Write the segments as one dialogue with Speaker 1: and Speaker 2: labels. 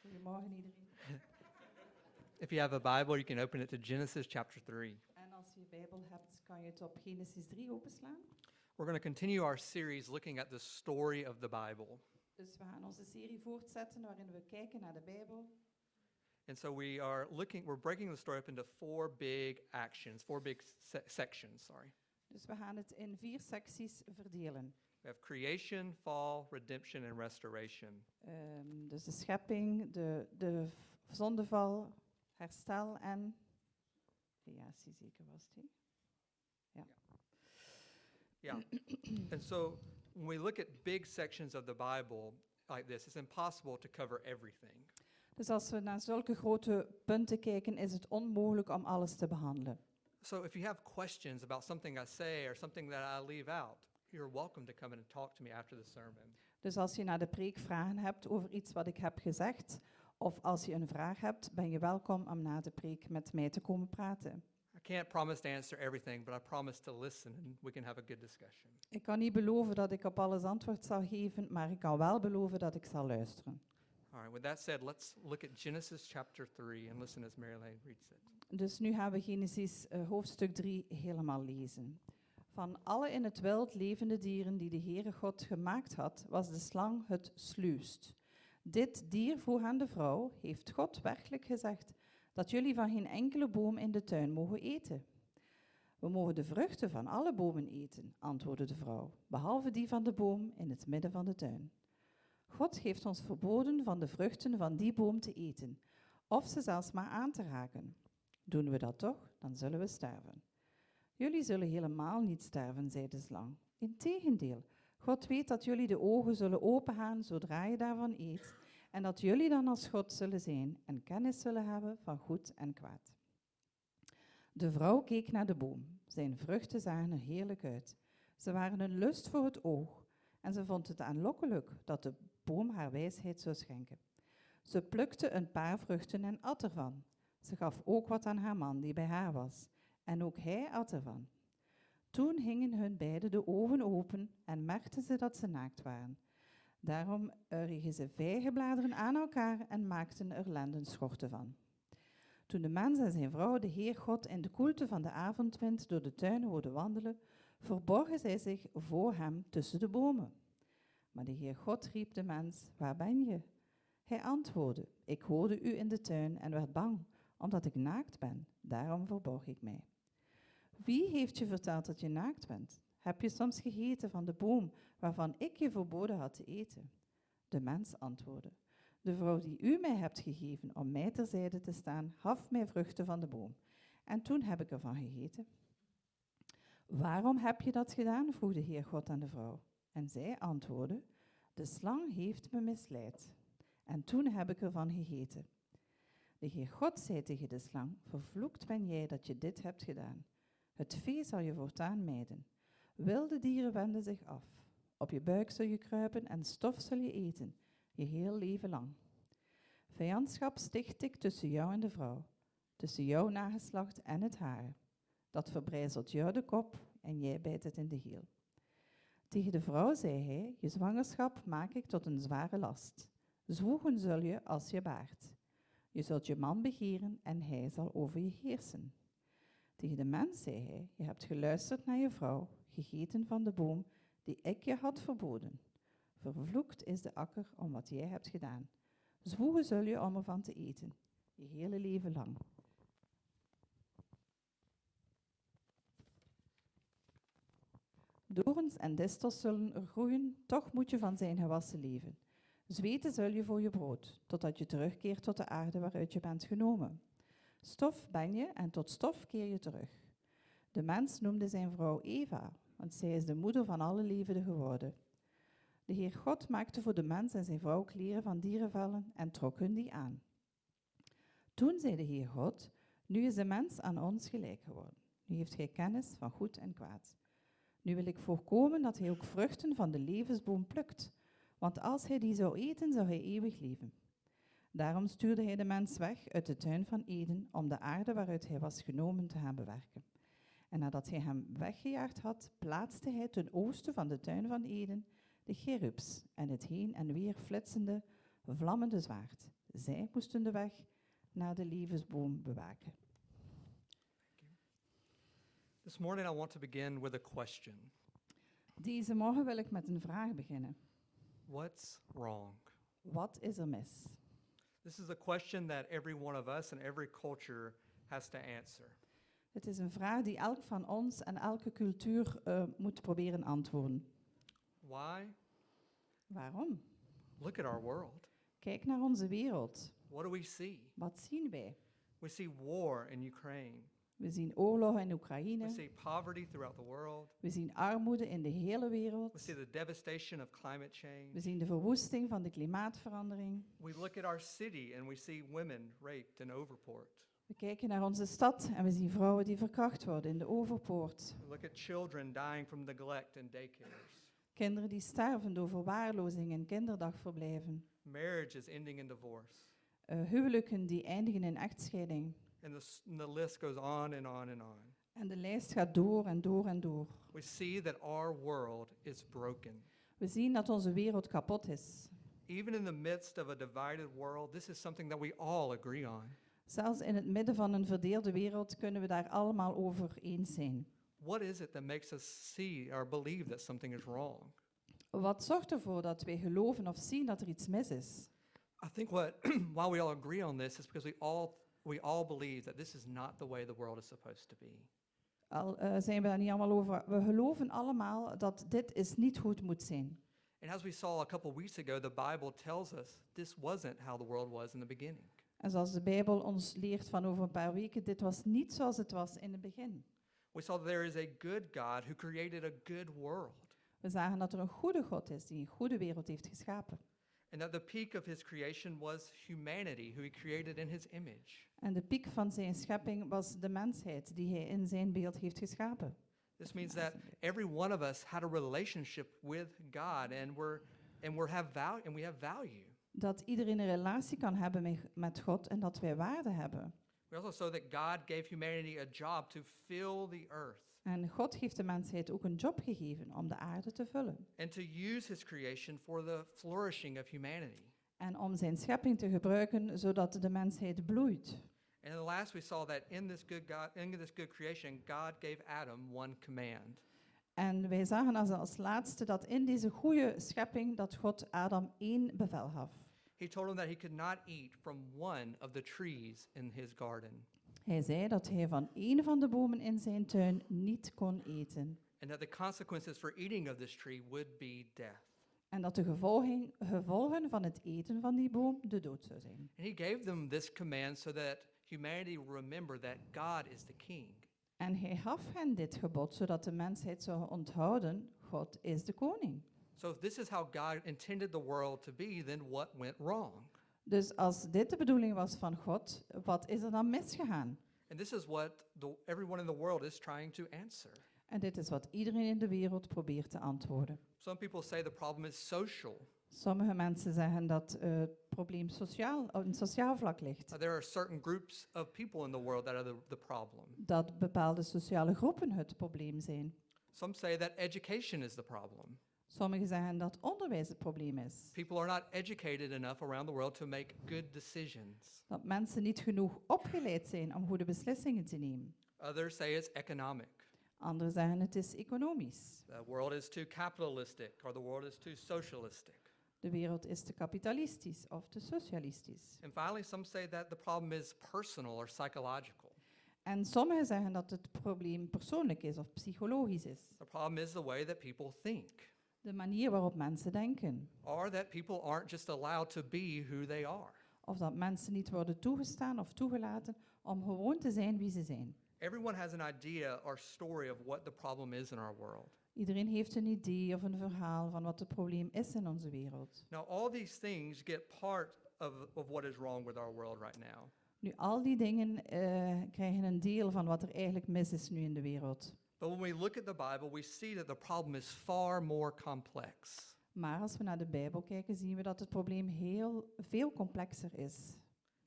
Speaker 1: Goedemorgen iedereen.
Speaker 2: If you have a Bible, you can open it to Genesis chapter 3.
Speaker 1: En als je je Bijbel hebt, kan je het op Genesis 3 openslaan.
Speaker 2: We're going to continue our series looking at the story of the Bible.
Speaker 1: Dus we gaan onze serie voortzetten waarin we kijken naar de Bijbel.
Speaker 2: And so we are looking, we're breaking the story up into four big actions, four big se- sections, sorry.
Speaker 1: Dus we gaan het in vier secties verdelen.
Speaker 2: We have creation, fall, redemption, and restoration.
Speaker 1: Ehm, dus de schepping, de, de v- zondeval, herstel en creatie zeker was het. hè?
Speaker 2: Yeah. and so when we look at big sections of the Bible like this, it's impossible to cover everything.
Speaker 1: Dus als we naar zulke grote punten kijken, is het onmogelijk om alles te behandelen.
Speaker 2: So if you have questions about something I say or something that I leave out, you're welcome to come in and talk to me after the sermon.
Speaker 1: Dus als je naar de preek vragen hebt over iets wat ik heb gezegd, of als je een vraag hebt, ben je welkom om na de preek met mij te komen praten.
Speaker 2: I can't promise to answer everything, but I promise to listen and we can have a good discussion.
Speaker 1: Ik kan niet beloven dat ik op alles antwoord zal geven, maar ik kan wel beloven dat ik zal luisteren.
Speaker 2: All right, with that said, let's look at Genesis chapter 3 and listen as Mary Lane reads it.
Speaker 1: Dus nu gaan we Genesis eh, hoofdstuk 3 helemaal lezen. Van alle in het wild levende dieren die de Heere God gemaakt had, was de slang het sluwst. Dit dier vroeg aan de vrouw, heeft God werkelijk gezegd dat jullie van geen enkele boom in de tuin mogen eten? We mogen de vruchten van alle bomen eten, antwoordde de vrouw, behalve die van de boom in het midden van de tuin. God heeft ons verboden van de vruchten van die boom te eten, of ze zelfs maar aan te raken. Doen we dat toch, dan zullen we sterven. Jullie zullen helemaal niet sterven, zei de slang. Integendeel, God weet dat jullie de ogen zullen opengaan zodra je daarvan eet, en dat jullie dan als God zullen zijn en kennis zullen hebben van goed en kwaad. De vrouw keek naar de boom. Zijn vruchten zagen er heerlijk uit. Ze waren een lust voor het oog, en ze vond het aanlokkelijk dat de boom haar wijsheid zou schenken. Ze plukte een paar vruchten en at ervan. Ze gaf ook wat aan haar man die bij haar was, en ook hij at ervan. Toen hingen hun beiden de ogen open en merkten ze dat ze naakt waren. Daarom urgen ze vijgenbladeren aan elkaar en maakten er lendenschorten van. Toen de mens en zijn vrouw de Heer God in de koelte van de avondwind door de tuin hoorden wandelen, verborgen zij zich voor hem tussen de bomen. Maar de Heer God riep de mens, waar ben je? Hij antwoordde, ik hoorde u in de tuin en werd bang omdat ik naakt ben, daarom verborg ik mij. Wie heeft je verteld dat je naakt bent? Heb je soms gegeten van de boom waarvan ik je verboden had te eten? De mens antwoordde: De vrouw die u mij hebt gegeven om mij terzijde te staan, gaf mij vruchten van de boom. En toen heb ik ervan gegeten. Waarom heb je dat gedaan? vroeg de Heer God aan de vrouw. En zij antwoordde: De slang heeft me misleid. En toen heb ik ervan gegeten. De Heer God zei tegen de slang: Vervloekt ben jij dat je dit hebt gedaan. Het vee zal je voortaan mijden. Wilde dieren wenden zich af. Op je buik zul je kruipen en stof zul je eten, je heel leven lang. Vijandschap sticht ik tussen jou en de vrouw, tussen jouw nageslacht en het hare. Dat verbrijzelt jou de kop en jij bijt het in de hiel. Tegen de vrouw zei hij: Je zwangerschap maak ik tot een zware last. Zwoegen zul je als je baart. Je zult je man begeren en hij zal over je heersen. Tegen de mens zei hij: Je hebt geluisterd naar je vrouw, gegeten van de boom die ik je had verboden. Vervloekt is de akker om wat jij hebt gedaan. Zwoegen zul je om ervan te eten, je hele leven lang. Dorens en distels zullen er groeien, toch moet je van zijn gewassen leven. Zweten zul je voor je brood, totdat je terugkeert tot de aarde waaruit je bent genomen. Stof ben je en tot stof keer je terug. De mens noemde zijn vrouw Eva, want zij is de moeder van alle levenden geworden. De Heer God maakte voor de mens en zijn vrouw kleren van dierenvellen en trok hun die aan. Toen zei de Heer God, nu is de mens aan ons gelijk geworden. Nu heeft gij kennis van goed en kwaad. Nu wil ik voorkomen dat hij ook vruchten van de levensboom plukt, want als hij die zou eten, zou hij eeuwig leven. Daarom stuurde hij de mens weg uit de tuin van Eden om de aarde waaruit hij was genomen te gaan bewerken. En nadat hij hem weggejaagd had, plaatste hij ten oosten van de tuin van Eden de cherubs en het heen en weer flitsende, vlammende zwaard, Zij moesten de weg naar de levensboom bewaken.
Speaker 2: This morning, I want to begin with a question
Speaker 1: Deze morgen wil ik met een vraag beginnen.
Speaker 2: What's wrong?
Speaker 1: Wat is er mis?
Speaker 2: This is a question that every one of us in every culture has to answer.
Speaker 1: Het is een vraag die elk van ons en elke cultuur eh, moet proberen antwoorden.
Speaker 2: Why?
Speaker 1: Waarom?
Speaker 2: Look at our world.
Speaker 1: Kijk naar onze wereld.
Speaker 2: What do we see?
Speaker 1: Wat zien wij?
Speaker 2: We see war in Ukraine.
Speaker 1: We zien oorlog in
Speaker 2: We
Speaker 1: Oekraïne.
Speaker 2: see poverty throughout the world.
Speaker 1: We zien armoede in de hele
Speaker 2: We
Speaker 1: wereld.
Speaker 2: see the devastation of climate
Speaker 1: We
Speaker 2: change.
Speaker 1: zien de verwoesting van de klimaatverandering.
Speaker 2: We look at our city and we see women raped and overport.
Speaker 1: We kijken naar onze stad en we zien vrouwen die verkracht worden in de overpoort.
Speaker 2: We look at children dying from neglect in daycares.
Speaker 1: Kinderen die sterven door verwaarlozing in kinderdagverblijven.
Speaker 2: Marriages ending in divorce.
Speaker 1: Eh, huwelijken die eindigen in echtscheiding.
Speaker 2: And the, s- and the list goes on and on and on.
Speaker 1: En de lijst gaat door en door en door.
Speaker 2: We see that our world is broken.
Speaker 1: We zien dat onze wereld kapot is.
Speaker 2: Even in the midst of a divided world, this is something that we all agree on.
Speaker 1: Zelfs in het midden van een verdeelde wereld kunnen we daar allemaal over eens zijn.
Speaker 2: What is it that makes us see or believe that something is wrong?
Speaker 1: Wat zorgt ervoor dat wij geloven of zien dat er iets mis is?
Speaker 2: I think what why we all agree on this is because we all we all believe that this is not the way the world is supposed to be.
Speaker 1: Al eh, zijn we daar niet allemaal over. We geloven allemaal dat dit is niet hoe het moet zijn.
Speaker 2: And as we saw a couple weeks ago, the Bible tells us this wasn't how the world was in the beginning.
Speaker 1: En zoals de Bijbel ons leert van over een paar weken, dit was niet zoals het was in het begin.
Speaker 2: We saw that there is a good God who created a good world,
Speaker 1: We zagen dat er een goede God is die een goede wereld heeft geschapen.
Speaker 2: and that the peak of his creation was humanity, who he created in his image.
Speaker 1: En de piek van zijn schepping was de mensheid die hij in zijn beeld heeft geschapen.
Speaker 2: This means that every one of us had a relationship with God and we're and we are have value and we have value.
Speaker 1: Dat iedereen een relatie kan hebben met- met God en dat wij waarde hebben.
Speaker 2: We also saw that God gave humanity a job to fill the earth.
Speaker 1: En God heeft de mensheid ook een job gegeven om de aarde te vullen.
Speaker 2: and to use his creation for the flourishing of humanity.
Speaker 1: En om zijn schepping te gebruiken zodat de mensheid bloeit.
Speaker 2: And then last we saw that in this good God, in this good creation, God gave Adam one command.
Speaker 1: En wij zagen als, als laatste dat in deze goede schepping dat God Adam één bevel gaf.
Speaker 2: He told him that he could not eat from one of the trees in his garden,
Speaker 1: Hij zei dat hij van één van de bomen in zijn tuin niet kon eten.
Speaker 2: and that the consequences for eating of this tree would be death.
Speaker 1: En dat de gevolgen, gevolgen van het eten van die boom de dood zou zijn.
Speaker 2: And he gave them this command so that humanity would remember that God is the king.
Speaker 1: En hij gaf hen dit gebod, zodat de mensheid zou onthouden, God is de koning.
Speaker 2: So if this is how God intended the world to be, then what went wrong?
Speaker 1: Dus als dit de bedoeling was van God, wat is er dan misgegaan?
Speaker 2: And this is what the, everyone in the world is trying to answer.
Speaker 1: En dit is wat iedereen in de wereld probeert te antwoorden.
Speaker 2: Some people say the problem is social.
Speaker 1: Sommige mensen zeggen dat eh, het probleem sociaal, op een sociaal vlak ligt.
Speaker 2: Uh, there are certain groups of people in the world that are the, the problem.
Speaker 1: Dat bepaalde sociale groepen het probleem zijn.
Speaker 2: Some say that education is the problem.
Speaker 1: Sommigen zeggen dat onderwijs het probleem is.
Speaker 2: People are not educated enough around the world to make good decisions.
Speaker 1: Dat mensen niet genoeg opgeleid zijn om goede beslissingen te nemen.
Speaker 2: Others say it's economic.
Speaker 1: Anderen zeggen het is economisch.
Speaker 2: The world is too capitalistic or the world is too socialistic.
Speaker 1: De wereld is te kapitalistisch of te socialistisch.
Speaker 2: And finally, some say that the problem is personal or psychological.
Speaker 1: En sommigen zeggen dat het probleem persoonlijk is of psychologisch is.
Speaker 2: The problem is the way that people think,
Speaker 1: De manier waarop mensen denken.
Speaker 2: or that people aren't just allowed to be who they are.
Speaker 1: Of dat mensen niet worden toegestaan of toegelaten om gewoon te zijn wie ze zijn.
Speaker 2: Everyone has an idea or story of what the problem is in our world.
Speaker 1: Iedereen heeft een idee of een verhaal van wat het probleem is in onze wereld.
Speaker 2: Now, all these things get part of, of what is wrong with our world right now.
Speaker 1: Nu, al die dingen eh, krijgen een deel van wat er eigenlijk mis is nu in de wereld.
Speaker 2: But when we look at the Bible, we see that the problem is far more complex.
Speaker 1: Maar als we naar de Bijbel kijken, zien we dat het probleem heel veel complexer is.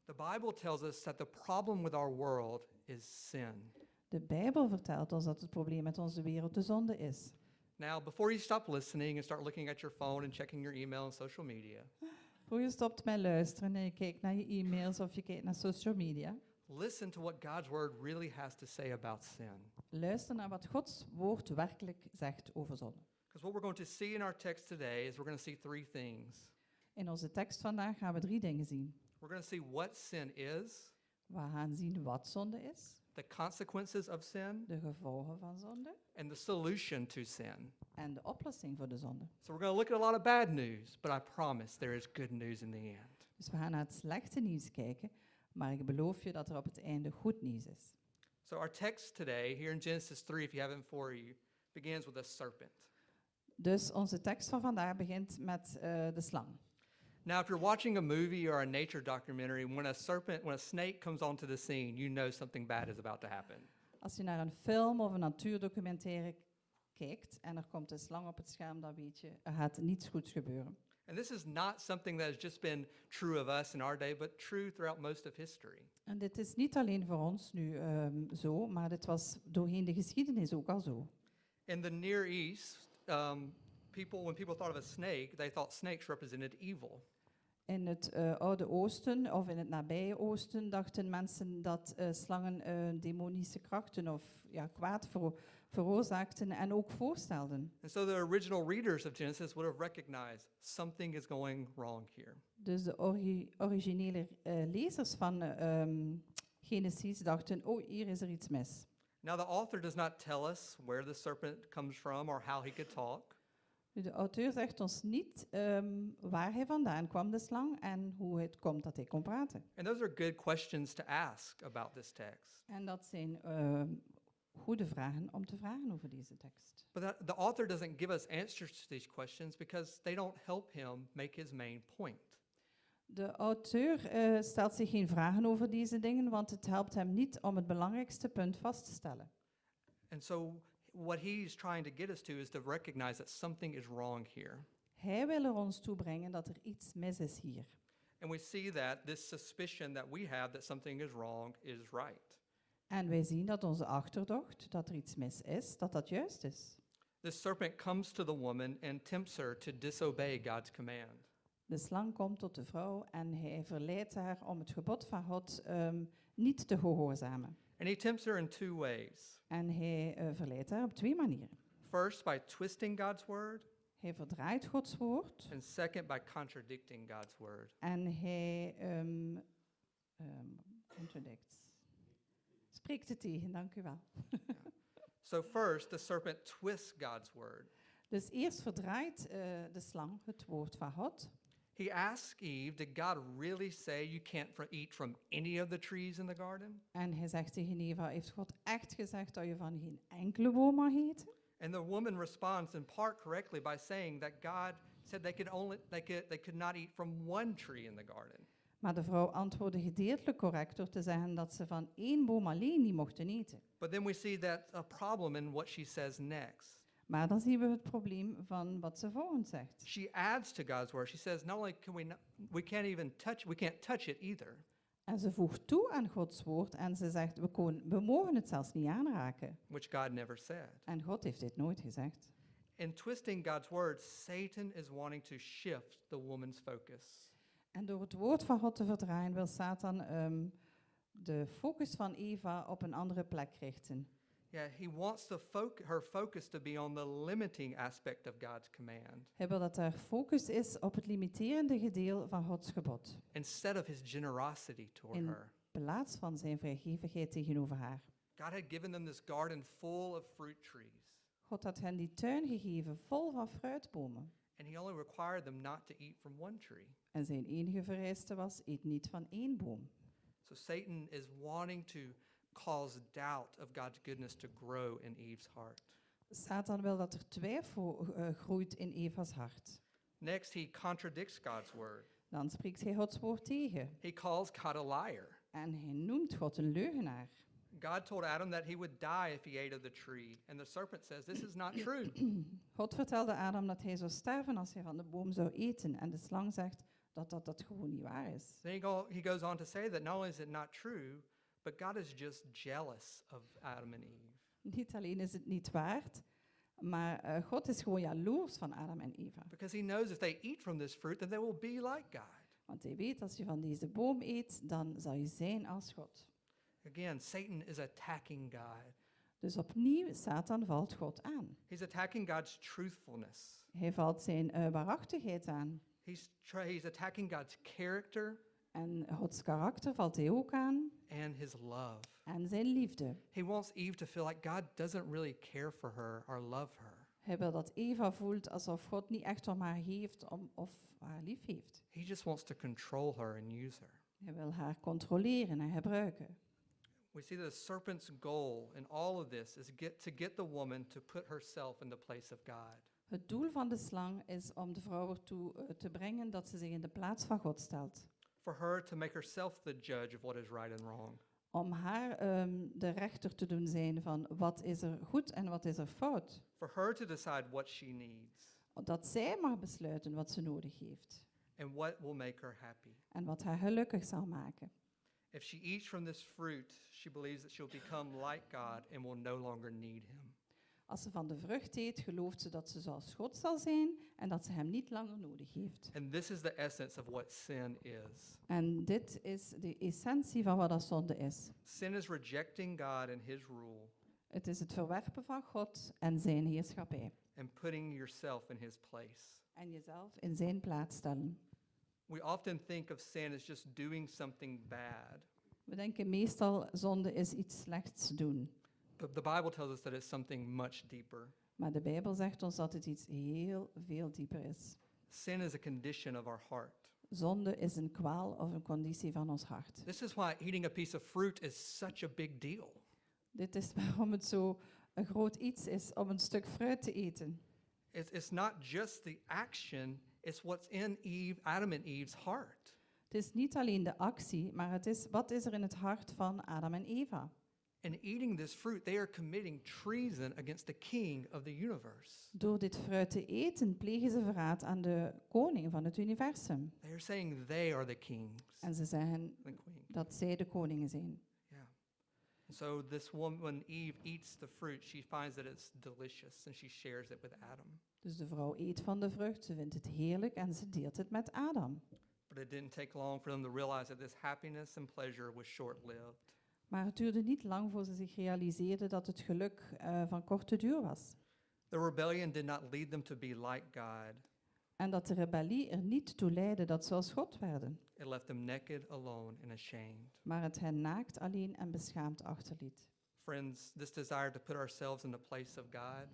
Speaker 2: The Bible tells us that the problem with our world is sin.
Speaker 1: De Bijbel vertelt ons dat het probleem met onze wereld de zonde is.
Speaker 2: Now, before you stop listening and start looking at your phone and checking your email and social media,
Speaker 1: Vroeger je stopt met luisteren en je kijkt naar je e-mails of je kijkt naar social media.
Speaker 2: Listen to what God's word really has to say about sin.
Speaker 1: Luister naar wat Gods woord werkelijk zegt over zonde.
Speaker 2: Because what we're going to see in our text today is we're going to see three things.
Speaker 1: In onze tekst vandaag gaan we drie dingen zien.
Speaker 2: We're going to see what sin is,
Speaker 1: We gaan zien wat zonde is,
Speaker 2: the consequences of sin,
Speaker 1: de gevolgen van zonde
Speaker 2: and the solution to sin.
Speaker 1: en de oplossing voor de zonde.
Speaker 2: So we're going to look at a lot of bad news, but I promise there is good news in the end.
Speaker 1: Dus we gaan naar het slechte nieuws kijken, maar ik beloof je dat er op het einde goed nieuws is.
Speaker 2: So our text today, here in Genesis 3, if you haven't for you, begins with a serpent.
Speaker 1: Dus onze tekst van vandaag begint met eh, de slang.
Speaker 2: Now, if you're watching a movie or a nature documentary, when a serpent, when a snake comes onto the scene, you know something bad is about to happen.
Speaker 1: Als je naar een film of een natuurdocumentaire k- kijkt en er komt een slang op het scherm, dan weet je, er gaat niets goeds gebeuren.
Speaker 2: And this is not something that has just been true of us in our day, but true throughout most of history.
Speaker 1: En dit is niet alleen voor ons nu ehm, zo, maar dit was doorheen de geschiedenis ook al zo.
Speaker 2: In the Near East, um, people, when people thought of a snake, they thought snakes represented evil.
Speaker 1: In het eh, Oude Oosten of in het Nabije Oosten dachten mensen dat eh, slangen eh, demonische krachten of ja, kwaad vero- veroorzaakten en ook voorstelden.
Speaker 2: And so the original readers of Genesis would have recognized something is going wrong here.
Speaker 1: Dus de ori- originele eh, lezers van eh, ehm, Genesis dachten, oh hier is er iets mis.
Speaker 2: Now, the author does not tell us where the serpent comes from or how he could talk,
Speaker 1: Nu, de auteur zegt ons niet ehm, waar hij vandaan kwam, de slang, en hoe het komt dat hij kon praten.
Speaker 2: and those are good questions to ask about this text.
Speaker 1: En dat zijn ehm, goede vragen om te vragen over deze tekst.
Speaker 2: But that, the author doesn't give us answers to these questions because they don't help him make his main point.
Speaker 1: De auteur eh, stelt zich geen vragen over deze dingen, want het helpt hem niet om het belangrijkste punt vast te stellen.
Speaker 2: And so, what he's trying to get us to is to recognize that something is wrong here.
Speaker 1: Hij wil er ons toe brengen dat er iets mis is hier.
Speaker 2: And we see that this suspicion that we have that something is wrong is right.
Speaker 1: En wij zien dat onze achterdocht, dat er iets mis is, dat dat juist is.
Speaker 2: This serpent comes to the woman and tempts her to disobey God's command.
Speaker 1: De slang komt tot de vrouw en hij verleidt haar om het gebod van God ehm, niet te gehoorzamen.
Speaker 2: And he tempts her in two ways.
Speaker 1: En hij eh, verleidt haar op twee manieren.
Speaker 2: First, by twisting God's word,
Speaker 1: Hij verdraait Gods woord
Speaker 2: and second, by contradicting God's word.
Speaker 1: en hij ehm ehm, contradicts. Spreekt het tegen, dank u wel.
Speaker 2: So, first, the serpent twists God's word.
Speaker 1: Dus eerst verdraait eh, de slang het woord van God.
Speaker 2: He asks Eve, Did God really say you can't fr- eat from any of the trees in the garden?
Speaker 1: En hij zegt tegen Eva, heeft God echt gezegd dat je van geen enkele boom mag eten?
Speaker 2: And the woman responds in part correctly by saying that God said they could only they could they could not eat from one tree in the garden.
Speaker 1: Maar de vrouw antwoordde gedeeltelijk correct door te zeggen dat ze van één boom alleen niet mochten eten.
Speaker 2: But then we see that a problem in what she says next.
Speaker 1: Maar dan zien we het probleem van wat ze volgens zegt.
Speaker 2: She adds to God's word. She says not only can we not, we can't even touch we can't touch it either.
Speaker 1: En ze voegt toe aan Gods woord en ze zegt, we, kon, we mogen het zelfs niet aanraken.
Speaker 2: which God never said.
Speaker 1: En God heeft dit nooit gezegd.
Speaker 2: In twisting God's word, Satan is wanting to shift the woman's focus.
Speaker 1: En door het woord van God te verdraaien wil Satan ehm, de focus van Eva op een andere plek richten.
Speaker 2: Yeah, he wants the foc- her focus to be on the limiting aspect of God's command
Speaker 1: Hij wil dat haar focus is op het limiterende gedeelte van Gods gebod,
Speaker 2: instead of his generosity toward
Speaker 1: In-
Speaker 2: her.
Speaker 1: in plaats van zijn vrijgevigheid tegenover haar.
Speaker 2: God had given them this garden full of fruit trees,
Speaker 1: God had hen die tuin gegeven vol van fruitbomen.
Speaker 2: and he only required them not to eat from one tree.
Speaker 1: En zijn enige vereiste was, eet niet van één boom.
Speaker 2: So Satan is wanting to cause doubt of God's goodness to grow in Eve's heart.
Speaker 1: Satan wil dat er twijfel eh, groeit in Eva's hart.
Speaker 2: Next, he contradicts God's word.
Speaker 1: Dan spreekt hij Gods woord tegen.
Speaker 2: He calls God a liar.
Speaker 1: En hij noemt God een leugenaar.
Speaker 2: God told Adam that he would die if he ate of the tree, and the serpent says this is not true.
Speaker 1: God vertelde Adam dat hij zou sterven als hij van de boom zou eten. En de slang zegt dat dat, dat gewoon niet waar is.
Speaker 2: then he, go, he goes on to say that not only is it not true, but God is just jealous of Adam and Eve.
Speaker 1: Niet alleen is het niet waard, maar eh, God is gewoon jaloers van Adam en Eva.
Speaker 2: Because he knows if they eat from this fruit, then they will be like God.
Speaker 1: Want hij weet, als je van deze boom eet, dan zal je zijn als God.
Speaker 2: Again, Satan is attacking God.
Speaker 1: Dus opnieuw, Satan valt God aan.
Speaker 2: He's attacking God's truthfulness.
Speaker 1: Hij valt zijn eh, waarachtigheid aan.
Speaker 2: He's, try, he's attacking God's character
Speaker 1: En Gods karakter valt hij ook aan.
Speaker 2: and his love.
Speaker 1: En zijn liefde.
Speaker 2: He wants Eve to feel like God doesn't really care for her or love her.
Speaker 1: Hij wil dat Eva voelt alsof God niet echt om haar geeft om, of haar lief heeft.
Speaker 2: He just wants to control her and use her.
Speaker 1: Hij wil haar controleren en gebruiken.
Speaker 2: We see that the serpent's goal in all of this is get, to get the woman to put herself in the place of God.
Speaker 1: Het doel van de slang is om de vrouw ertoe eh, te brengen dat ze zich in de plaats van God stelt.
Speaker 2: for her to make herself the judge of what is right and wrong.
Speaker 1: Om haar ehm, de rechter te doen zijn van wat is er goed en wat is er fout.
Speaker 2: For her to decide what she needs
Speaker 1: Dat zij maar besluiten wat ze nodig heeft
Speaker 2: and what will make her happy.
Speaker 1: en wat haar gelukkig zal maken.
Speaker 2: If she eats from this fruit, she believes that she'll become like God and will no longer need him.
Speaker 1: Als ze van de vrucht eet, gelooft ze dat ze zoals God zal zijn en dat ze hem niet langer nodig heeft.
Speaker 2: And this is the essence of what sin is
Speaker 1: En dit is de essentie van wat dat zonde is.
Speaker 2: sin is rejecting God and his rule
Speaker 1: Het is het verwerpen van God en zijn heerschappij.
Speaker 2: and putting yourself in his place.
Speaker 1: En jezelf in zijn plaats stellen.
Speaker 2: We often think of sin as just doing something bad,
Speaker 1: We denken meestal zonde is iets slechts doen.
Speaker 2: but the Bible tells us that it's something much deeper.
Speaker 1: Maar de Bijbel zegt ons dat het iets heel veel dieper is.
Speaker 2: Sin is a condition of our heart.
Speaker 1: Zonde is een kwaal of een conditie van ons hart.
Speaker 2: This is why eating a piece of fruit is such a big deal.
Speaker 1: Dit is waarom het zo een groot iets is om een stuk fruit te eten.
Speaker 2: It's, it's not just the action, it's what's in Eve, Adam and Eve's heart.
Speaker 1: Het is niet alleen de actie, maar het is wat is er in het hart van Adam en Eva.
Speaker 2: And eating this fruit, they are committing treason against the king of the universe.
Speaker 1: Door dit fruit te eten plegen ze verraad aan de koning van het universum.
Speaker 2: They are saying they are the kings
Speaker 1: En ze zeggen
Speaker 2: the queen.
Speaker 1: dat zij de koningen zijn.
Speaker 2: Yeah. And so this woman, when Eve eats the fruit, she finds that it's delicious and she shares it with Adam.
Speaker 1: Dus de vrouw eet van de vrucht, ze vindt het heerlijk en ze deelt het met Adam.
Speaker 2: But it didn't take long for them to realize that this happiness and pleasure was short lived.
Speaker 1: Maar het duurde niet lang voor ze zich realiseerden dat het geluk eh, van korte duur was.
Speaker 2: The rebellion did not lead them to be like God,
Speaker 1: En dat de rebellie er niet toe leidde dat ze als God werden,
Speaker 2: It left them naked, alone, and ashamed.
Speaker 1: maar het hen naakt alleen en beschaamd achterliet.
Speaker 2: Friends, this desire to put ourselves in the place of God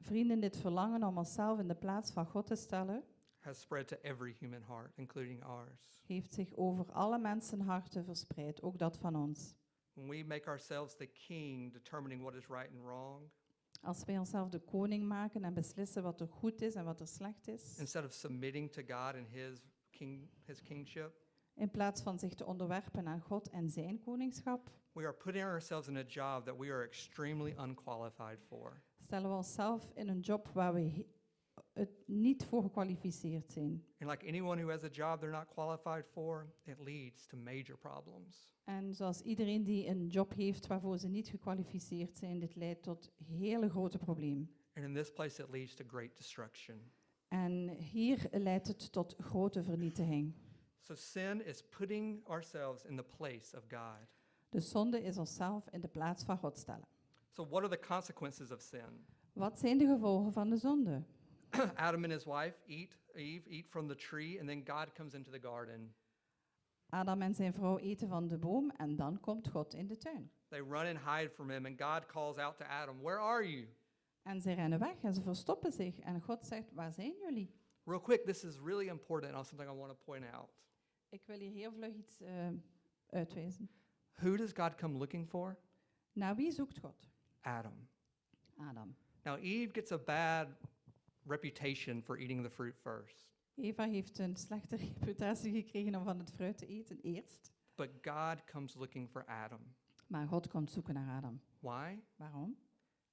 Speaker 1: Vrienden, dit verlangen om onszelf in de plaats van God te stellen,
Speaker 2: has spread to every human heart, including ours.
Speaker 1: heeft zich over alle mensenharten verspreid, ook dat van ons.
Speaker 2: When we make ourselves the king, determining what is right and wrong,
Speaker 1: Als wij onszelf de koning maken en beslissen wat er goed is en wat er slecht is,
Speaker 2: instead of submitting to God and his king his kingship,
Speaker 1: in plaats van zich te onderwerpen aan God en zijn koningschap,
Speaker 2: we are putting ourselves in a job that we are extremely unqualified for.
Speaker 1: stellen we onszelf in een job waar we he- het niet voor gekwalificeerd zijn.
Speaker 2: And like anyone who has a job they're not qualified for, it leads to major problems.
Speaker 1: En zoals iedereen die een job heeft waarvoor ze niet gekwalificeerd zijn, dit leidt tot hele grote problemen.
Speaker 2: And in this place it leads to great destruction.
Speaker 1: En hier leidt het tot grote vernietiging.
Speaker 2: So sin is putting ourselves in the place of God.
Speaker 1: De zonde is onszelf in de plaats van God stellen.
Speaker 2: So what are the consequences of sin?
Speaker 1: Wat zijn de gevolgen van de zonde?
Speaker 2: Adam and his wife eat Eve eat from the tree and then God comes into the garden.
Speaker 1: Adam en zijn vrouw eten van de boom en dan komt God in de tuin.
Speaker 2: They run and hide from him and God calls out to Adam, "Where are you?"
Speaker 1: En ze rennen weg en ze verstoppen zich. En God zegt, waar zijn jullie?
Speaker 2: Real quick, this is really important on something I want to point out.
Speaker 1: Ik wil hier heel vlug iets eh, uitwijzen.
Speaker 2: Who does God come looking for?
Speaker 1: Naar wie zoekt God?
Speaker 2: Adam.
Speaker 1: Adam.
Speaker 2: Now Eve gets a bad reputation for eating the fruit first,
Speaker 1: Eva heeft een slechte reputatie gekregen om van het fruit te eten eerst.
Speaker 2: but God comes looking for Adam.
Speaker 1: Maar God komt zoeken naar Adam.
Speaker 2: Why?
Speaker 1: Waarom?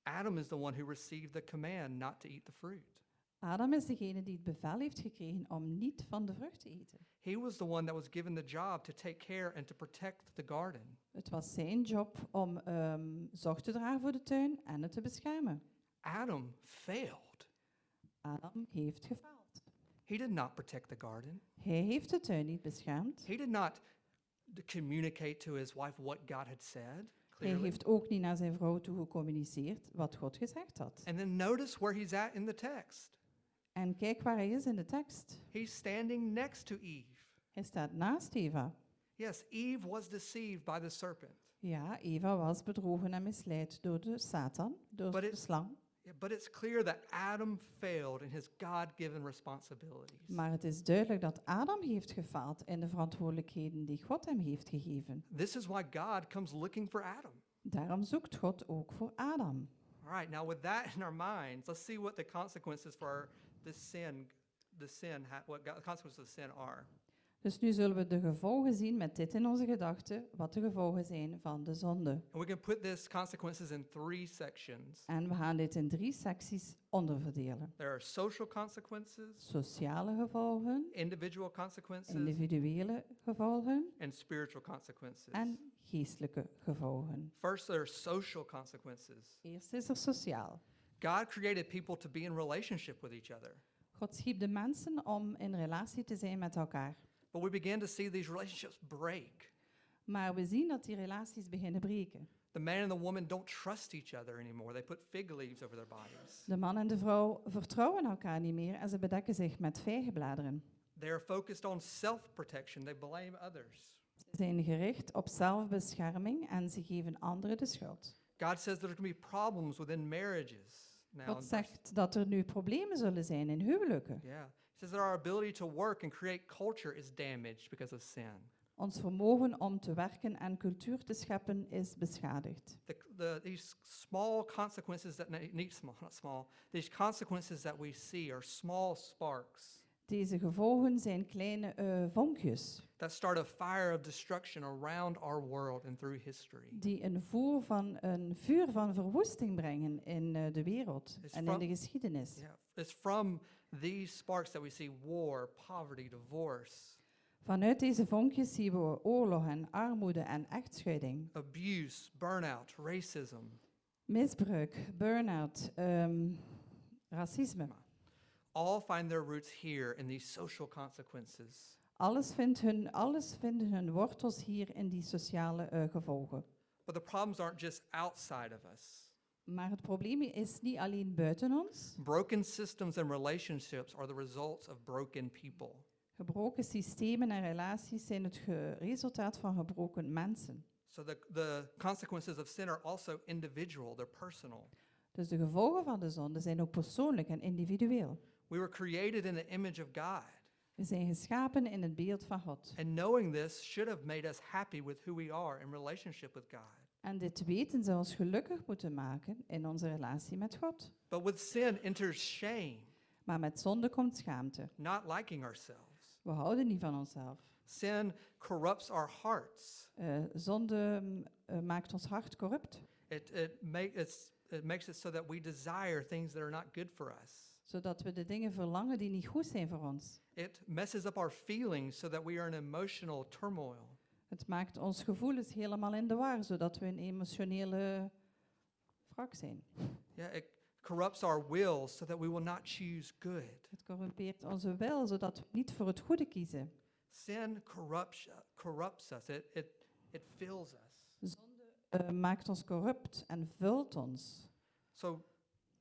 Speaker 2: Adam is the one who received the command not to eat the fruit.
Speaker 1: Adam is degene die het bevel heeft gekregen om niet van de vrucht te eten.
Speaker 2: He was the one that was given the job to take care and to protect the garden.
Speaker 1: Het was zijn job om ehm, zorg te dragen voor de tuin en het te beschermen.
Speaker 2: Adam failed.
Speaker 1: Adam heeft gefaald.
Speaker 2: He did not protect the garden.
Speaker 1: Hij heeft de tuin niet beschermd.
Speaker 2: He did not d- communicate to his wife what God had said
Speaker 1: Hij
Speaker 2: clearly.
Speaker 1: heeft ook niet naar zijn vrouw toe gecommuniceerd wat God gezegd had.
Speaker 2: And then notice where he's at in the text.
Speaker 1: En kijk waar hij is in de tekst.
Speaker 2: He's standing next to Eve.
Speaker 1: Hij staat naast Eva.
Speaker 2: Yes, Eve was deceived by the serpent,
Speaker 1: Ja, Eva was bedrogen en misleid door de Satan, door
Speaker 2: But
Speaker 1: de
Speaker 2: it-
Speaker 1: slang.
Speaker 2: Yeah, but it's clear that Adam failed in his God given responsibilities.
Speaker 1: Maar het is duidelijk dat Adam heeft gefaald in de verantwoordelijkheden die God hem heeft gegeven.
Speaker 2: This is why God comes looking for Adam.
Speaker 1: Daarom zoekt God ook voor Adam.
Speaker 2: All right, now with that in our minds, let's see what the consequences for our, this sin, the sin, ha- what God, the consequences of sin are.
Speaker 1: Dus nu zullen we de gevolgen zien met dit in onze gedachten, wat de gevolgen zijn van de zonde.
Speaker 2: And we can put this consequences in three sections.
Speaker 1: En we gaan dit in drie secties onderverdelen.
Speaker 2: There are social consequences,
Speaker 1: Sociale gevolgen,
Speaker 2: individual consequences,
Speaker 1: individuele gevolgen
Speaker 2: and spiritual consequences.
Speaker 1: en geestelijke gevolgen.
Speaker 2: First, there are social consequences.
Speaker 1: Eerst is er sociaal.
Speaker 2: God created people to be in relationship with each other,
Speaker 1: God schiep de mensen om in relatie te zijn met elkaar.
Speaker 2: but we begin to see these relationships break.
Speaker 1: Maar we zien dat die relaties beginnen breken.
Speaker 2: The man and the woman don't trust each other anymore. They put fig leaves over their bodies.
Speaker 1: De man en de vrouw vertrouwen elkaar niet meer en ze bedekken zich met vijgenbladeren.
Speaker 2: They are focused on self protection, they blame others.
Speaker 1: Ze zijn gericht op zelfbescherming en ze geven anderen de schuld.
Speaker 2: God says there's going to be problems within marriages now.
Speaker 1: God
Speaker 2: in verse-
Speaker 1: zegt dat er nu problemen zullen zijn in huwelijken.
Speaker 2: Yeah. He says that our ability to work and create culture is damaged because of sin.
Speaker 1: Ons vermogen om te werken en cultuur te scheppen is beschadigd.
Speaker 2: The, the, these small consequences that ne- need small, not small, these consequences that we see are small sparks
Speaker 1: Deze gevolgen zijn kleine eh, vonkjes
Speaker 2: that start a fire of destruction around our world and through history.
Speaker 1: die een, voer van, een vuur van verwoesting brengen in eh, de wereld
Speaker 2: Is
Speaker 1: en
Speaker 2: van-
Speaker 1: in de geschiedenis.
Speaker 2: Yeah, it's from these sparks that we see war, poverty, divorce,
Speaker 1: Vanuit deze vonkjes zien we oorlog en armoede en echtscheiding.
Speaker 2: abuse, burnout, racism.
Speaker 1: Misbruik, burn-out, ehm, racisme.
Speaker 2: All find their roots here in these social consequences.
Speaker 1: Alles, vindt hun, alles vinden hun wortels hier in die sociale eh, gevolgen.
Speaker 2: But the problems aren't just outside of us.
Speaker 1: Maar het probleem is niet alleen buiten ons.
Speaker 2: Broken systems and relationships are the results of broken people.
Speaker 1: Gebroken systemen en relaties zijn het ge- resultaat van gebroken mensen.
Speaker 2: So the, the consequences of sin are also individual, they're personal.
Speaker 1: Dus de gevolgen van de zonde zijn ook persoonlijk en individueel.
Speaker 2: We were created in the image of God,
Speaker 1: We zijn geschapen in het beeld van God.
Speaker 2: and knowing this should have made us happy with who we are in relationship with God.
Speaker 1: En dit weten zou ons gelukkig moeten maken in onze relatie met God.
Speaker 2: But with sin enters shame,
Speaker 1: Maar met zonde komt schaamte.
Speaker 2: not liking ourselves.
Speaker 1: We houden niet van onszelf.
Speaker 2: Sin corrupts our hearts.
Speaker 1: Eh, zonde mm, eh, maakt ons hart corrupt,
Speaker 2: It, it, make, it's, it makes it so that we desire things that are not good for us.
Speaker 1: zodat we de dingen verlangen die niet goed zijn voor ons.
Speaker 2: It messes up our feelings so that we are in emotional turmoil.
Speaker 1: Het maakt ons gevoelens helemaal in de war, zodat we een emotionele wrak zijn.
Speaker 2: Yeah, it corrupts our will so that we will not choose good.
Speaker 1: Het corrumpeert onze wil, zodat we niet voor het goede kiezen.
Speaker 2: Sin corrupts, corrupts us, it, it, it fills us.
Speaker 1: Eh, maakt ons corrupt en vult ons.
Speaker 2: So,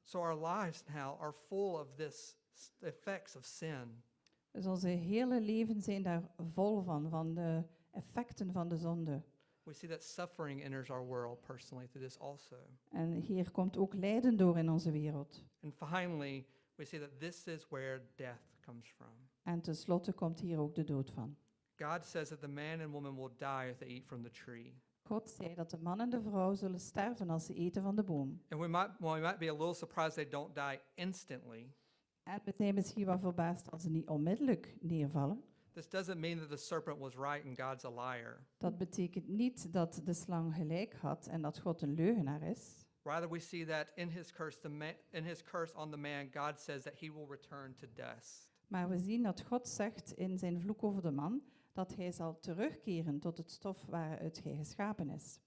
Speaker 2: so our lives now are full of this s- effects of sin.
Speaker 1: Dus onze hele leven zijn daar vol van, van de effecten van de zonde.
Speaker 2: We see that suffering enters our world personally through this also.
Speaker 1: En hier komt ook lijden door in onze wereld.
Speaker 2: And finally, we see that this is where death comes from.
Speaker 1: En tenslotte komt hier ook de dood van.
Speaker 2: God says that the man and woman will die if they eat from the tree.
Speaker 1: God zei dat de man en de vrouw zullen sterven als ze eten van de boom.
Speaker 2: And we might, well, we might be a little surprised they don't die instantly.
Speaker 1: En we zijn misschien wel verbaasd als ze niet onmiddellijk neervallen.
Speaker 2: This doesn't mean that the serpent was right and God's a liar.
Speaker 1: Dat betekent niet dat de slang gelijk had en dat God een leugenaar is.
Speaker 2: Rather, we see that in his curse, the man, in his curse on the man, God says that he will return to dust.
Speaker 1: Maar we zien dat God zegt in zijn vloek over de man dat hij zal terugkeren tot het stof waaruit hij geschapen is.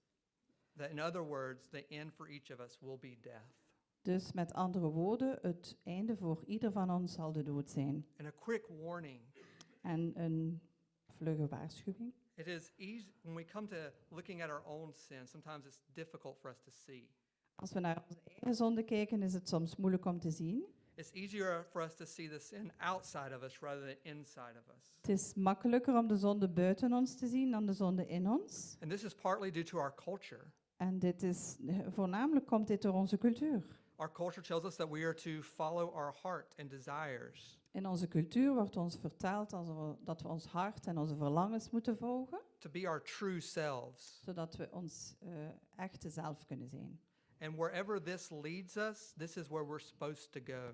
Speaker 2: That, in other words, the end for each of us will be death.
Speaker 1: Dus met andere woorden, het einde voor ieder van ons zal de dood zijn.
Speaker 2: And a quick warning
Speaker 1: En een vlugge waarschuwing.
Speaker 2: it is easy when we come to looking at our own sin, sometimes it's difficult for us to see.
Speaker 1: Als we naar onze eigen zonde kijken, is het soms moeilijk om te zien.
Speaker 2: It's easier for us to see the sin outside of us rather than inside of us.
Speaker 1: Het is makkelijker om de zonde buiten ons te zien dan de zonde in ons.
Speaker 2: And this is partly due to our culture.
Speaker 1: En dit is, voornamelijk komt dit door onze cultuur.
Speaker 2: Our culture tells us that we are to follow our heart and desires,
Speaker 1: In onze cultuur wordt ons verteld als we- dat we ons hart en onze verlangens moeten volgen,
Speaker 2: to be our true selves.
Speaker 1: zodat we ons eh, echte zelf kunnen zijn.
Speaker 2: And wherever this leads us, this is where we're supposed to go.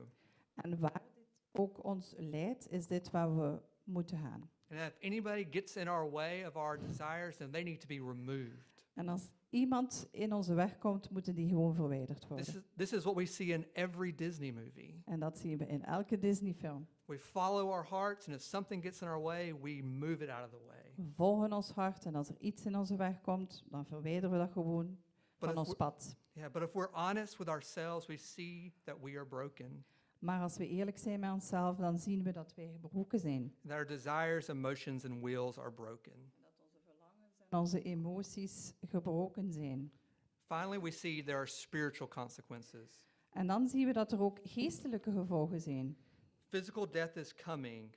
Speaker 1: En waar dit ook ons leidt, is dit waar we moeten gaan.
Speaker 2: And if anybody gets in our way of our desires, then they need to be removed.
Speaker 1: En als iemand in onze weg komt, moeten die gewoon verwijderd
Speaker 2: This
Speaker 1: worden.
Speaker 2: is, this is what we see in every Disney movie.
Speaker 1: En dat zien we in elke Disney-film.
Speaker 2: We follow our hearts, and if something gets in our way, we move it out of the way.
Speaker 1: We volgen ons hart en als er iets in onze weg komt, dan verwijderen we dat gewoon
Speaker 2: But
Speaker 1: van
Speaker 2: if,
Speaker 1: ons
Speaker 2: we-
Speaker 1: pad.
Speaker 2: yeah, but if we're honest with ourselves, we see that we are broken,
Speaker 1: Maar als we eerlijk zijn met onszelf, dan zien we dat wij gebroken zijn.
Speaker 2: that our desires, emotions, and wills are broken.
Speaker 1: En onze emoties gebroken zijn.
Speaker 2: Finally, we see there are spiritual consequences.
Speaker 1: En dan zien we dat er ook geestelijke gevolgen zijn.
Speaker 2: Physical death is coming,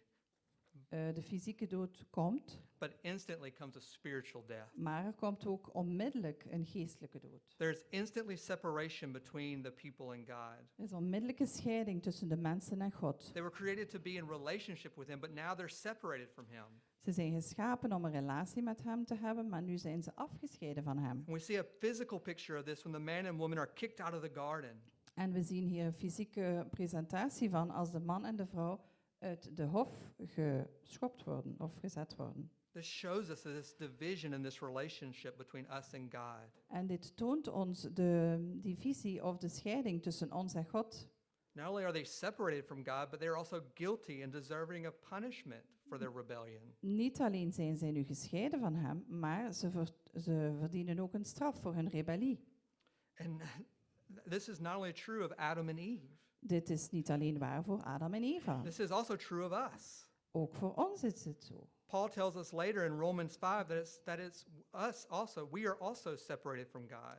Speaker 1: Eh, de fysieke dood komt,
Speaker 2: but instantly comes a spiritual death.
Speaker 1: maar er komt ook onmiddellijk een geestelijke dood.
Speaker 2: There's instantly separation between the people and God.
Speaker 1: Er is onmiddellijke scheiding tussen de mensen en God.
Speaker 2: They were created to be in relationship with Him, but now they're separated from Him.
Speaker 1: Ze zijn geschapen om een relatie met Hem te hebben, maar nu zijn ze afgescheiden van Hem.
Speaker 2: And we see a physical picture of this when the man and woman are kicked out of the garden.
Speaker 1: En we zien hier een fysieke presentatie van als de man en de vrouw uit de hof geschopt worden of gezet worden.
Speaker 2: This shows us this division in this relationship between us and God.
Speaker 1: En dit toont ons de divisie of de scheiding tussen ons en God.
Speaker 2: Not only are they separated from God, but they're also guilty and deserving of punishment for their rebellion.
Speaker 1: Niet alleen zijn zij nu gescheiden van Hem, maar ze, ver- ze verdienen ook een straf voor hun rebellie.
Speaker 2: And this is not only true of Adam and Eve,
Speaker 1: Dit is niet alleen waar voor Adam en Eva.
Speaker 2: this is also true of us.
Speaker 1: Ook voor ons is het zo.
Speaker 2: Paul tells us later in Romans 5 that it's, that it's us also, we are also separated from God,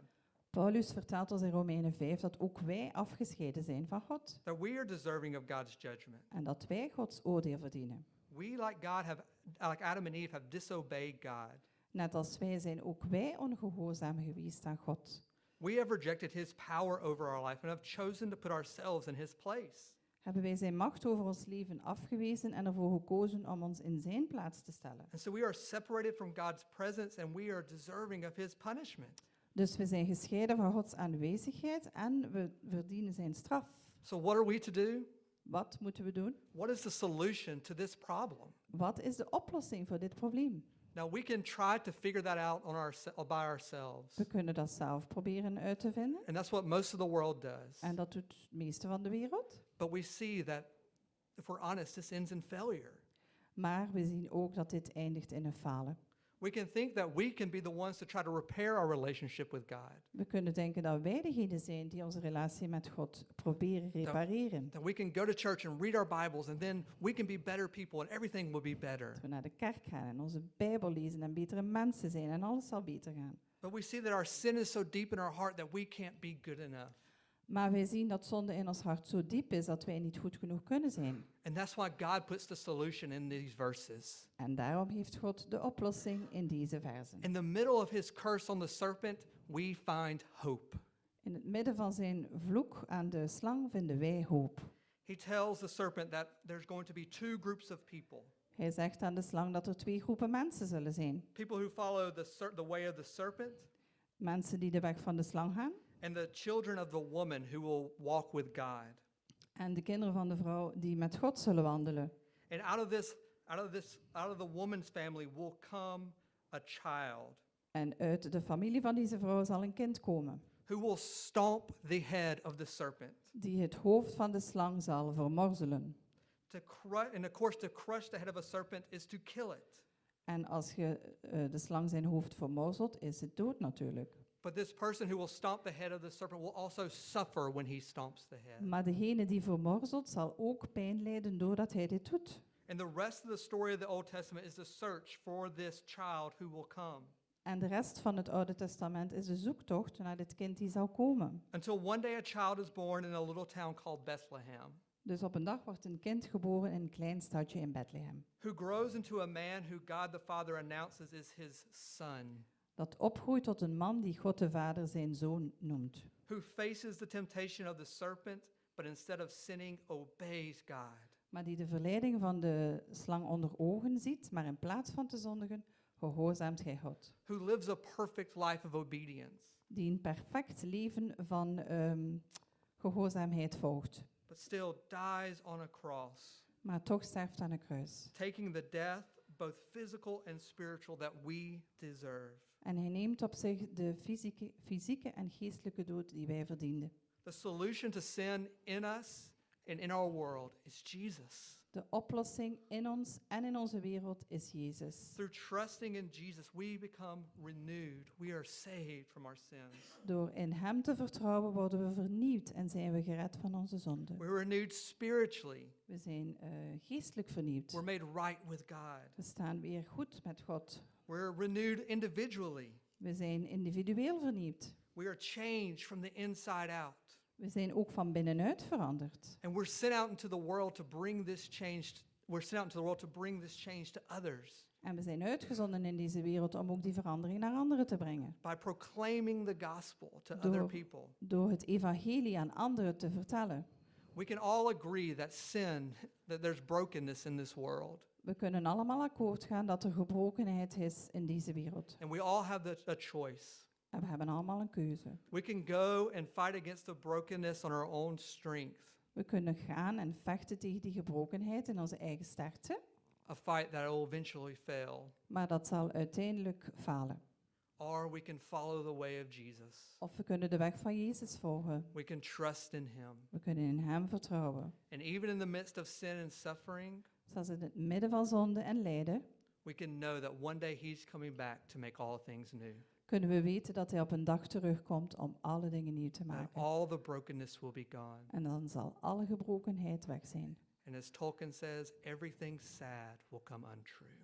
Speaker 1: Paulus vertelt ons in Romeinen 5 dat ook wij afgescheiden zijn van God
Speaker 2: that we are deserving of God's judgment.
Speaker 1: en dat wij Gods oordeel verdienen.
Speaker 2: We, like God, have, like Adam and Eve, have disobeyed God.
Speaker 1: Net als wij zijn ook wij ongehoorzaam geweest aan God.
Speaker 2: We have rejected his power over our life and have chosen to put ourselves in his place.
Speaker 1: Hebben wij zijn macht over ons leven afgewezen en ervoor gekozen om ons in zijn plaats te stellen.
Speaker 2: And so we are separated from God's presence and we are deserving of his punishment.
Speaker 1: Dus we zijn gescheiden van Gods aanwezigheid en we verdienen zijn straf.
Speaker 2: So, what are we to do?
Speaker 1: Wat moeten we doen?
Speaker 2: What is the solution to this problem?
Speaker 1: Wat is de oplossing voor dit probleem?
Speaker 2: Now, we can try to figure that out on our, by ourselves.
Speaker 1: We kunnen dat zelf proberen uit te vinden.
Speaker 2: And that's what most of the world does.
Speaker 1: En dat doet het meeste van de wereld.
Speaker 2: But we see that if we're honest, this ends in failure.
Speaker 1: Maar we zien ook dat dit eindigt in een falen.
Speaker 2: We can think that we can be the ones to try to repair our relationship with God,
Speaker 1: We kunnen denken dat wij degene zijn die onze relatie met God proberen repareren.
Speaker 2: that we can go to church and read our Bibles, and then we can be better people and everything will be better.
Speaker 1: Dat we naar de kerk gaan en onze Bijbel lezen en betere mensen zijn en alles zal beter gaan.
Speaker 2: But we see that our sin is so deep in our heart that we can't be good enough.
Speaker 1: Maar wij zien dat zonde in ons hart zo diep is dat wij niet goed genoeg kunnen zijn.
Speaker 2: And that's why God puts the solution in these verses.
Speaker 1: En daarom heeft God de oplossing in deze verzen.
Speaker 2: In the middle of his curse on the serpent, we find hope.
Speaker 1: In het midden van zijn vloek aan de slang vinden wij hoop.
Speaker 2: He tells the serpent that there's going to be two groups of people
Speaker 1: Hij zegt aan de slang dat er twee groepen mensen zullen zijn.
Speaker 2: people who follow the, ser- the way of the serpent,
Speaker 1: Mensen die de weg van de slang gaan
Speaker 2: and the children of the woman who will walk with God.
Speaker 1: en de kinderen van de vrouw die met God zullen wandelen.
Speaker 2: And out of this, out of this, out of the woman's family will come a child
Speaker 1: En uit de familie van deze vrouw zal een kind komen,
Speaker 2: who will stomp the head of the serpent
Speaker 1: die het hoofd van de slang zal vermorzelen.
Speaker 2: to crush, and of course, to crush the head of a serpent is to kill it.
Speaker 1: En als je eh, de slang zijn hoofd vermorzelt, is het dood natuurlijk.
Speaker 2: But this person who will stomp the head of the serpent will also suffer when he stomps the head.
Speaker 1: Maar degene die vermorzelt zal ook pijn lijden doordat hij dit doet.
Speaker 2: And the rest of the story of the Old Testament is the search for this child who will come.
Speaker 1: En de rest van het Oude Testament is de zoektocht naar dit kind die zou komen.
Speaker 2: Until one day a child is born in a little town called Bethlehem,
Speaker 1: Dus op een dag wordt een kind geboren in een klein stadje in Bethlehem.
Speaker 2: who grows into a man who God the Father announces is his son,
Speaker 1: Dat opgroeit tot een man die God de Vader zijn zoon noemt.
Speaker 2: who faces the temptation of the serpent, but instead of sinning, obeys God.
Speaker 1: Maar die de verleiding van de slang onder ogen ziet, maar in plaats van te zondigen, gehoorzaamt hij God.
Speaker 2: Who lives a perfect life of obedience,
Speaker 1: Die een perfect leven van ehm, gehoorzaamheid volgt.
Speaker 2: but still dies on a cross,
Speaker 1: Maar toch sterft aan een kruis.
Speaker 2: taking the death, both physical and spiritual, that we deserve.
Speaker 1: En hij neemt op zich de fysieke, fysieke en geestelijke dood die wij verdienden.
Speaker 2: The solution to sin in us and in our world is Jesus.
Speaker 1: De oplossing in ons en in onze wereld is Jezus.
Speaker 2: Through trusting in Jesus, we become renewed. We are saved from our sins.
Speaker 1: Door in Hem te vertrouwen worden we vernieuwd en zijn we gered van onze zonden.
Speaker 2: We're renewed spiritually.
Speaker 1: We zijn eh, geestelijk vernieuwd.
Speaker 2: We're made right with God.
Speaker 1: We staan weer goed met God.
Speaker 2: We're renewed individually.
Speaker 1: We zijn individueel vernieuwd.
Speaker 2: We are changed from the inside out.
Speaker 1: We zijn ook van binnenuit veranderd.
Speaker 2: And we're sent out into the world to bring this change. We're sent out into the world to bring this change to others
Speaker 1: En we zijn uitgezonden in deze wereld om ook die verandering naar anderen te brengen.
Speaker 2: by proclaiming the gospel to other
Speaker 1: Door-
Speaker 2: people.
Speaker 1: Door het evangelie aan anderen te vertellen.
Speaker 2: We can all agree that sin, that there's brokenness in this world.
Speaker 1: We kunnen allemaal akkoord gaan dat er gebrokenheid is in deze wereld.
Speaker 2: And we all have the, a choice.
Speaker 1: En we hebben allemaal een keuze.
Speaker 2: We can go and fight against the brokenness on our own strength,
Speaker 1: We kunnen gaan en vechten tegen die gebrokenheid in onze eigen sterkte,
Speaker 2: a fight that will eventually fail,
Speaker 1: maar dat zal uiteindelijk falen.
Speaker 2: or we can follow the way of Jesus.
Speaker 1: Of we kunnen de weg van Jezus volgen.
Speaker 2: We can trust in Him.
Speaker 1: We kunnen in Hem vertrouwen.
Speaker 2: And even in the midst of sin and suffering,
Speaker 1: Zelfs in het midden van zonde en lijden
Speaker 2: we can know that one day He's coming back to make all things new,
Speaker 1: kunnen we weten dat Hij op een dag terugkomt om alle dingen nieuw te
Speaker 2: that
Speaker 1: maken.
Speaker 2: Uh, all the brokenness will be gone.
Speaker 1: En dan zal alle gebrokenheid weg zijn.
Speaker 2: And as Tolkien says, everything sad will come untrue.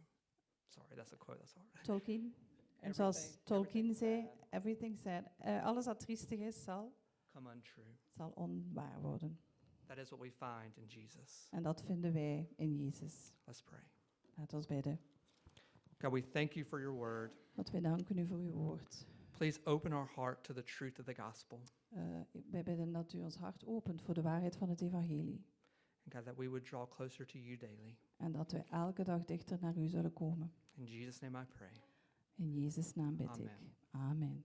Speaker 2: Sorry, that's a quote, that's hard.
Speaker 1: Tolkien. En zoals
Speaker 2: Everything-
Speaker 1: Tolkien
Speaker 2: everything
Speaker 1: zei,
Speaker 2: sad
Speaker 1: everything said, eh, alles wat triestig is, zal,
Speaker 2: Come untrue.
Speaker 1: zal onwaar worden.
Speaker 2: That is what we find in Jesus.
Speaker 1: En dat vinden wij in Jezus.
Speaker 2: Let's pray.
Speaker 1: Laat ons bidden.
Speaker 2: God, we thank you for your word.
Speaker 1: Want wij danken u voor uw woord.
Speaker 2: Please open our heart to the truth of the gospel.
Speaker 1: Eh, ik- wij bidden dat u ons hart opent voor de waarheid van het evangelie.
Speaker 2: And God, that we would draw closer to you daily.
Speaker 1: En dat wij elke dag dichter naar u zullen komen.
Speaker 2: In Jesus' name I pray.
Speaker 1: In Jezus' naam bid ik.
Speaker 2: Amen.
Speaker 1: Amen.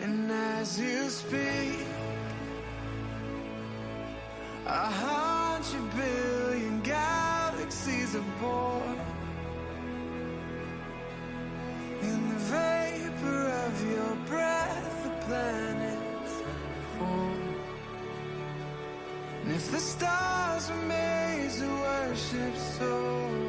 Speaker 3: And as you speak, a hundred billion galaxies are born in the vapor of your breath. The planets form, and if the stars were made to worship, so